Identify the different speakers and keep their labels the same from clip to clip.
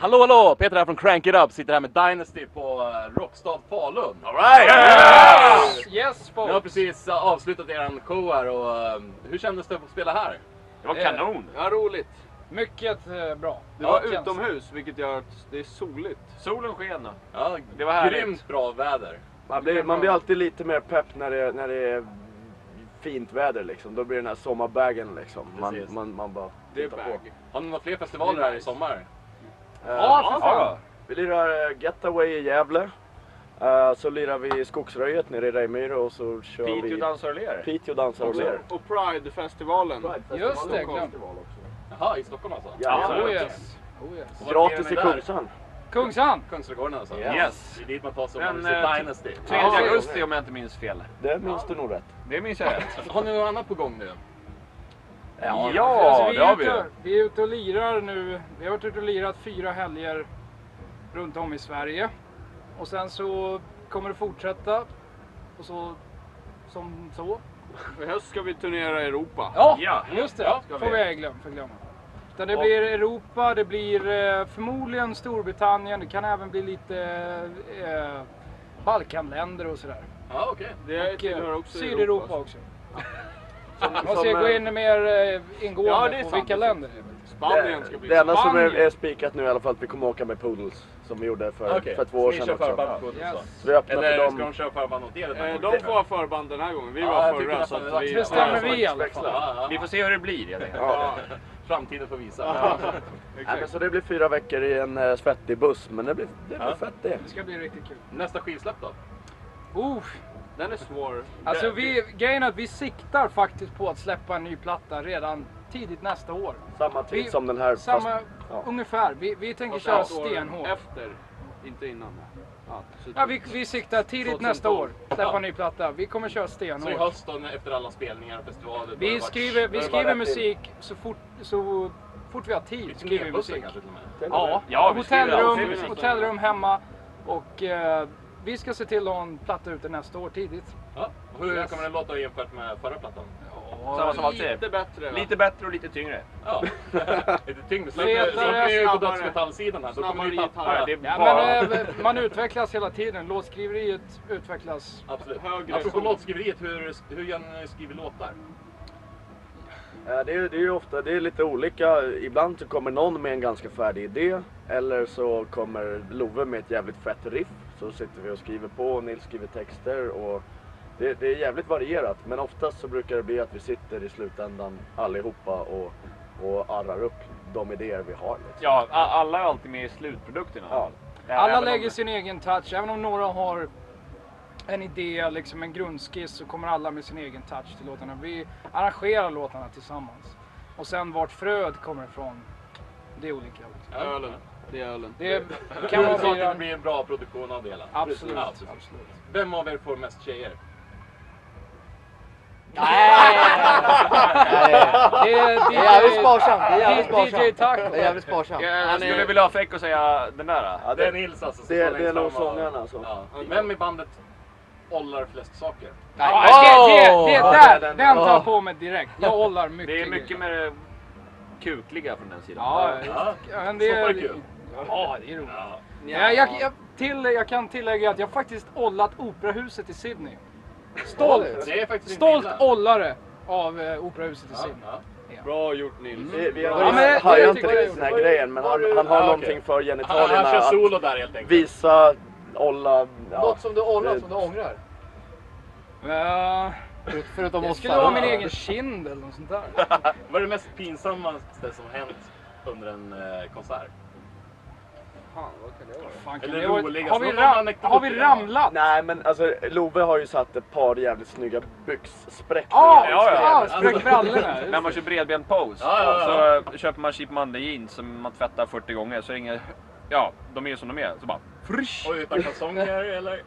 Speaker 1: Hallå hallå! Peter här från Crank It Up, sitter här med Dynasty på eh, Rockstad Falun.
Speaker 2: Alright!
Speaker 3: Yes
Speaker 1: Ni har
Speaker 3: folk!
Speaker 1: precis eh, avslutat er show här och eh, hur kändes det att få spela här?
Speaker 2: Det var kanon!
Speaker 4: Ja, roligt.
Speaker 3: Mycket eh, bra.
Speaker 4: Det var
Speaker 3: Verkligen.
Speaker 4: utomhus, vilket gör att det är soligt.
Speaker 2: Solen sken. och-
Speaker 1: Ja,
Speaker 2: Det var härligt.
Speaker 1: Grymt bra väder.
Speaker 4: Man blir, man blir alltid lite mer pepp när det, när det är fint väder liksom. Då blir den här sommarbagen liksom. Man,
Speaker 1: Precis.
Speaker 4: man, man bara
Speaker 1: Det är
Speaker 4: tittar på.
Speaker 1: Har ni några fler festivaler här i sommar?
Speaker 3: Ja, för fan.
Speaker 2: Ja,
Speaker 4: Vi lirar eh, Getaway i Gävle. Eh, Så lirar vi Skogsröjet nere i Rejmyre och så kör
Speaker 2: Piteå
Speaker 4: vi
Speaker 2: dansar och ler.
Speaker 4: Piteå dansar och ler.
Speaker 5: Och Pride-festivalen.
Speaker 3: Just det, glöm.
Speaker 1: Jaha, i Stockholm alltså?
Speaker 4: Ja,
Speaker 3: Oh
Speaker 2: Absolut.
Speaker 3: yes. Oh yes.
Speaker 4: Gratis i
Speaker 1: Vad blir det
Speaker 4: Kungsan.
Speaker 3: Kungshamn!
Speaker 1: Kungsgården alltså?
Speaker 2: Yes.
Speaker 1: Det är dit man tar sig om man
Speaker 2: Men,
Speaker 1: vill se
Speaker 2: eh,
Speaker 1: Dynasty.
Speaker 2: 3
Speaker 3: Ja,
Speaker 2: augusti om jag inte minns fel.
Speaker 4: Det minns du nog rätt.
Speaker 2: Det minns jag rätt.
Speaker 1: Har ni något annat på gång nu?
Speaker 2: Ja,
Speaker 3: Alltså, vi
Speaker 2: det
Speaker 3: är
Speaker 2: har vi ju.
Speaker 3: ute, vi är ute och lirar nu. Vi har varit ute och lirat fyra helger runt om i Sverige. Och sen så kommer det fortsätta. Och så som så.
Speaker 5: I höst ska vi turnera i Europa.
Speaker 3: Ja,
Speaker 2: Ja,
Speaker 3: just det.
Speaker 2: ja, ska
Speaker 3: får
Speaker 2: vi.
Speaker 3: vi ej glöm, förglömma. Utan det blir Europa, det blir eh, förmodligen Storbritannien, det kan även bli lite eh, Balkanländer och sådär.
Speaker 1: Ja, okej.
Speaker 5: Det
Speaker 3: Och, eh,
Speaker 5: tillhör också
Speaker 3: Sydeuropa
Speaker 5: Europa.
Speaker 3: också. alltså. Man måste gå in mer eh, ingående
Speaker 5: Ja, det är
Speaker 3: på
Speaker 5: sant,
Speaker 3: vilka
Speaker 5: det är
Speaker 3: länder det är.
Speaker 5: Spanien ska bli
Speaker 4: Det enda som är,
Speaker 3: Spanien.
Speaker 4: är spikat nu i alla fall att vi kommer åka med Poodles. Som vi gjorde för,
Speaker 1: Okej,
Speaker 4: för två
Speaker 1: så
Speaker 4: år
Speaker 1: ni
Speaker 4: sedan
Speaker 1: kör
Speaker 4: också.
Speaker 1: förband på Kungsgården
Speaker 3: Yes.
Speaker 1: alltså?
Speaker 4: Så vi öppnar
Speaker 1: Eller
Speaker 4: för
Speaker 1: ska de
Speaker 4: dem.
Speaker 1: köra förband åt er den här
Speaker 5: Eh,
Speaker 1: gången?
Speaker 5: De får ha förband den här gången. Vi
Speaker 1: Ja,
Speaker 5: var
Speaker 1: jag tycker
Speaker 5: förra.
Speaker 1: att
Speaker 5: Så
Speaker 1: det
Speaker 5: att
Speaker 1: var
Speaker 5: vi,
Speaker 1: dags.
Speaker 3: Bestämmer
Speaker 5: ja,
Speaker 3: vi i alla fall.
Speaker 1: Ja,
Speaker 2: Vi
Speaker 1: ja,
Speaker 2: får se hur det blir helt enkelt.
Speaker 4: Ja.
Speaker 1: ja. Framtiden får visa.
Speaker 4: Nej, men så det blir fyra veckor i en eh, svettig buss. Men det blir, det blir
Speaker 1: Ja.
Speaker 4: fett det.
Speaker 3: Det ska bli riktigt kul.
Speaker 1: Nästa skivsläpp då?
Speaker 3: Uff.
Speaker 5: Den är svår.
Speaker 3: Alltså vi, grejen är att vi siktar faktiskt på att släppa en ny platta redan tidigt nästa år.
Speaker 4: Samma tid
Speaker 3: Vi-
Speaker 4: som den här.
Speaker 3: Samma,
Speaker 4: ja.
Speaker 3: ungefär. Vi, vi tänker
Speaker 5: Fast
Speaker 3: köra
Speaker 5: ett år
Speaker 3: stenhårt.
Speaker 5: Efter. Inte innan. Ja, så-
Speaker 3: Ja, vi, vi siktar tidigt
Speaker 5: 2012.
Speaker 3: nästa år. Släppa en ny platta. Vi kommer köra
Speaker 1: Så i
Speaker 3: stenhårt.
Speaker 1: höst då, efter alla spelningar och festivaler? då har det
Speaker 3: Vi
Speaker 1: varit-
Speaker 3: skriver,
Speaker 1: då
Speaker 3: vi
Speaker 1: har det varit
Speaker 3: skriver
Speaker 4: rätt
Speaker 3: musik så fort, så fort vi har tid. Skriver vi
Speaker 1: turnébussar
Speaker 3: musik.
Speaker 1: kanske till och med.
Speaker 2: Ja,
Speaker 3: Ja,
Speaker 2: ja vi skriver alltid
Speaker 3: hotellrum,
Speaker 2: musik.
Speaker 3: hotellrum hemma. Och eh, vi ska se till att ha en platta ute nästa år tidigt.
Speaker 1: Ja. och Hur
Speaker 3: Yes.
Speaker 1: kommer den låta jämfört med förra plattan?
Speaker 2: Samma som alltid.
Speaker 5: Lite bättre. Va?
Speaker 2: Lite bättre och lite tyngre.
Speaker 1: Ja. Lite tyngre. Sen
Speaker 3: Fetare,
Speaker 1: är ju på
Speaker 5: snabbare.
Speaker 1: dödsmetallsidan här. Då kommer vi
Speaker 5: Snabbare
Speaker 1: tappa...
Speaker 5: gitarr.
Speaker 2: Det är
Speaker 3: Ja,
Speaker 2: bara-
Speaker 3: men, eh, man utvecklas hela tiden. Låtskriveriet utvecklas.
Speaker 1: Absolut.
Speaker 5: Högre.
Speaker 1: Apropå låtskriveriet, hur, hur gör ni- skriver låtar?
Speaker 4: Ja, det, är, det är ju ofta, det är lite olika. Ibland så kommer någon med en ganska färdig idé. Eller så kommer Love med ett jävligt fett riff. Så sitter vi och skriver på och Nils skriver texter. Och det, det är jävligt varierat. Men oftast så brukar det bli att vi sitter i slutändan allihopa och, och arrar upp de idéer vi har. Liksom.
Speaker 2: Ja, a- alla är alltid med i slutprodukten.
Speaker 4: Ja.
Speaker 3: Alla lägger sin egen touch. Även om några har en idé, liksom en grundskiss, så kommer alla med sin egen touch till låtarna. Vi arrangerar låtarna tillsammans. Och sen vart fröet kommer ifrån, det är olika.
Speaker 5: Ölen. Det är ölen.
Speaker 3: Det kan vara
Speaker 1: Huvudsaken det
Speaker 3: fyran.
Speaker 1: blir en bra produktion av det hela.
Speaker 3: Absolut.
Speaker 1: Ja, precis.
Speaker 3: absolut.
Speaker 1: Vem av er får mest tjejer?
Speaker 3: Det är DJ,
Speaker 6: Det är jävligt sparsamt. Det är jävligt
Speaker 3: DJ
Speaker 6: sparsamt. Det är
Speaker 3: Taco.
Speaker 6: jävligt sparsamt.
Speaker 2: Jag jag skulle vilja ha fräck och säga den där.
Speaker 4: Ja,
Speaker 1: Det är Nils alltså. som
Speaker 4: det är-
Speaker 1: står längst
Speaker 4: det är nog
Speaker 1: fram och-
Speaker 4: sångaren, alltså.
Speaker 1: Ja. Vem i bandet ollar flest saker?
Speaker 3: Ja, det, det, det där, den tar jag på mig direkt. Jag håller mycket.
Speaker 2: Det är mycket mer eh, kukliga från den sidan.
Speaker 3: Ja,
Speaker 1: Ja.
Speaker 3: ja, men det
Speaker 1: Så var det
Speaker 3: är...
Speaker 1: kul.
Speaker 3: Ja, det är roligt.
Speaker 1: Ja.
Speaker 3: Ja, jag, jag, till, jag kan tillägga att jag faktiskt ollat operahuset i Sydney. Stolt!
Speaker 1: Det är faktiskt inte
Speaker 3: Stolt
Speaker 1: illa.
Speaker 3: ollare av eh, operahuset i
Speaker 1: Ja,
Speaker 3: Sydney.
Speaker 1: ja.
Speaker 5: Bra gjort Nils.
Speaker 4: Vi, vi
Speaker 3: Ja, men det- det
Speaker 4: har ju inte
Speaker 3: tycker jag
Speaker 4: riktigt den här
Speaker 3: är-
Speaker 4: grejen. Men han, han har
Speaker 1: Ja, okej.
Speaker 4: någonting för
Speaker 1: Han, han
Speaker 4: genitalierna.
Speaker 1: kör
Speaker 4: Att
Speaker 1: solo där helt enkelt.
Speaker 4: visa, olla... Ja.
Speaker 6: Något som du ollar som du ångrar.
Speaker 3: Eh,
Speaker 6: Förut- Förutom
Speaker 3: jag
Speaker 6: oss
Speaker 3: skulle ha min
Speaker 6: farbröder.
Speaker 3: egen kind eller något sånt där.
Speaker 1: Vad är det mest pinsammaste som hänt under en eh, konsert?
Speaker 5: Fan, vad kan det vara?
Speaker 3: Fan, kan
Speaker 1: Eller
Speaker 3: det vara-
Speaker 1: roligast,
Speaker 3: har, vi
Speaker 1: någon
Speaker 3: ram,
Speaker 1: anekdot
Speaker 3: har vi
Speaker 1: i alla fall.
Speaker 3: ramlat?
Speaker 4: Nej men alltså Love har ju satt ett par jävligt snygga byxspräckningar.
Speaker 3: Ah,
Speaker 2: Ja, ja.
Speaker 3: ah, spräck brallorna.
Speaker 2: När man kör bredbent pose
Speaker 1: Ja, ja, ja.
Speaker 2: så eh, köper man cheap Monday jeans som man tvättar 40 gånger så är det inga... Ja, de är som de är. Så bara... Frisch!
Speaker 1: Och utan kalsonger eller?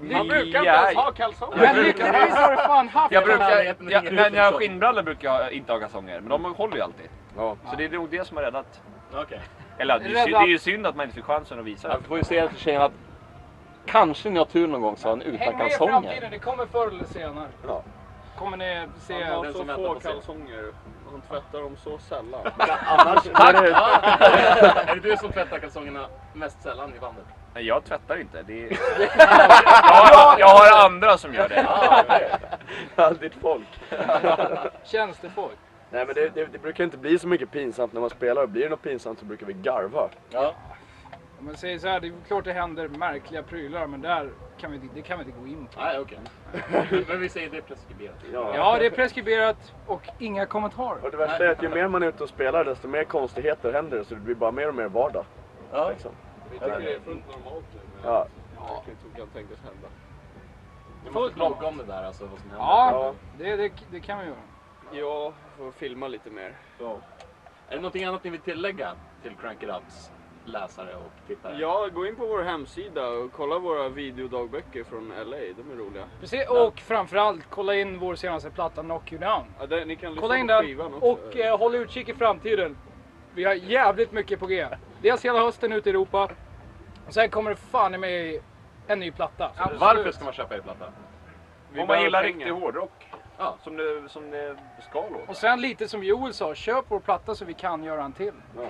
Speaker 5: Man brukar inte
Speaker 2: Ja,
Speaker 5: ens ha kalsonger.
Speaker 3: Men lyckligtvis har du fan haft
Speaker 2: Jag
Speaker 3: den här-
Speaker 2: brukar,
Speaker 1: Närheten
Speaker 2: jag,
Speaker 1: ringer
Speaker 2: när
Speaker 1: ut
Speaker 2: jag har
Speaker 1: liksom.
Speaker 2: skinnbrallor brukar jag inte ha kalsonger, men de håller ju alltid.
Speaker 4: Ja.
Speaker 2: Så det är nog det som har räddat.
Speaker 1: Okej.
Speaker 2: Eller det är, ju sy- det
Speaker 3: Räddat.
Speaker 2: är ju synd att man inte fick chansen att visa det.
Speaker 7: Vi får ju se till tjejen att kanske ni har tur någon gång så har ni
Speaker 3: Häng
Speaker 7: utan
Speaker 3: med i
Speaker 7: kalsonger.
Speaker 3: framtiden, det kommer förr eller senare.
Speaker 4: Ja.
Speaker 3: Kommer ni se...
Speaker 5: Jag har
Speaker 1: Den
Speaker 5: så
Speaker 1: som väntar
Speaker 5: få
Speaker 1: på scen.
Speaker 5: kalsonger. Han tvättar dem så sällan.
Speaker 4: Annars, när det,
Speaker 1: Är det du som tvättar kalsongerna mest sällan i bandet?
Speaker 2: Nej, jag tvättar inte. Det är... jag, har, jag har andra som gör det.
Speaker 4: ja, ditt folk.
Speaker 3: Tjänstefolk.
Speaker 4: Nej men det, det, det brukar inte bli så mycket pinsamt när man spelar. Blir det något pinsamt så brukar vi garva.
Speaker 1: Ja.
Speaker 3: Om man säger så här, det är klart det händer märkliga prylar men där kan vi, det kan vi inte gå in på.
Speaker 1: Nej, okej. Men vi säger det är preskriberat.
Speaker 4: Ja.
Speaker 3: Ja, det är preskriberat och inga kommentarer.
Speaker 4: Och det värsta är att ju mer man är ute och spelar desto mer konstigheter händer det, så det blir bara mer och mer vardag.
Speaker 1: Ja.
Speaker 4: Liksom.
Speaker 5: Vi tycker det är fullt normalt nu. men
Speaker 4: Ja.
Speaker 5: Ja. Det kan- kan tänkas hända.
Speaker 1: Vi måste blogga om det där, alltså vad som händer.
Speaker 3: Ja, det, det, det kan vi göra.
Speaker 5: Jag får filma lite mer.
Speaker 1: Är det någonting annat ni vill tillägga till Crank It Ups läsare och tittare?
Speaker 5: Ja, gå in på vår hemsida och kolla våra videodagböcker från LA. De är roliga.
Speaker 3: Precis, och framförallt kolla in vår senaste platta Knock You Down.
Speaker 5: Ja, där, ni kan lyssna
Speaker 3: Kolla in
Speaker 5: på
Speaker 3: den
Speaker 5: skivan också.
Speaker 3: och eh, håll utkik i framtiden. Vi har jävligt mycket på G. Dels hela hösten ute i Europa. Och sen kommer det fan i mig en ny platta.
Speaker 1: Varför ska man köpa er platta?
Speaker 2: Om
Speaker 5: Vi
Speaker 2: man
Speaker 5: behöver
Speaker 2: gillar
Speaker 5: pengar.
Speaker 2: riktig hårdrock.
Speaker 1: Ja.
Speaker 2: Som, det, som det ska låta.
Speaker 3: Och sen lite som Joel sa, köp vår platta så vi kan göra en till.
Speaker 1: Ja,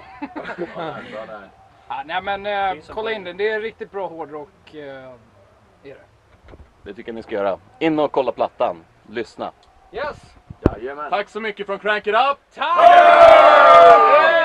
Speaker 1: bra där.
Speaker 3: Ah, nej men eh,
Speaker 2: Finns en
Speaker 3: kolla
Speaker 2: poäng.
Speaker 3: in den, det är riktigt bra hårdrock. Eh, är det.
Speaker 7: Det tycker jag ni ska göra. In och kolla plattan. Lyssna.
Speaker 3: Yes!
Speaker 4: Jajamän.
Speaker 1: Tack så mycket från Crank It Up!
Speaker 3: Tack! Hey!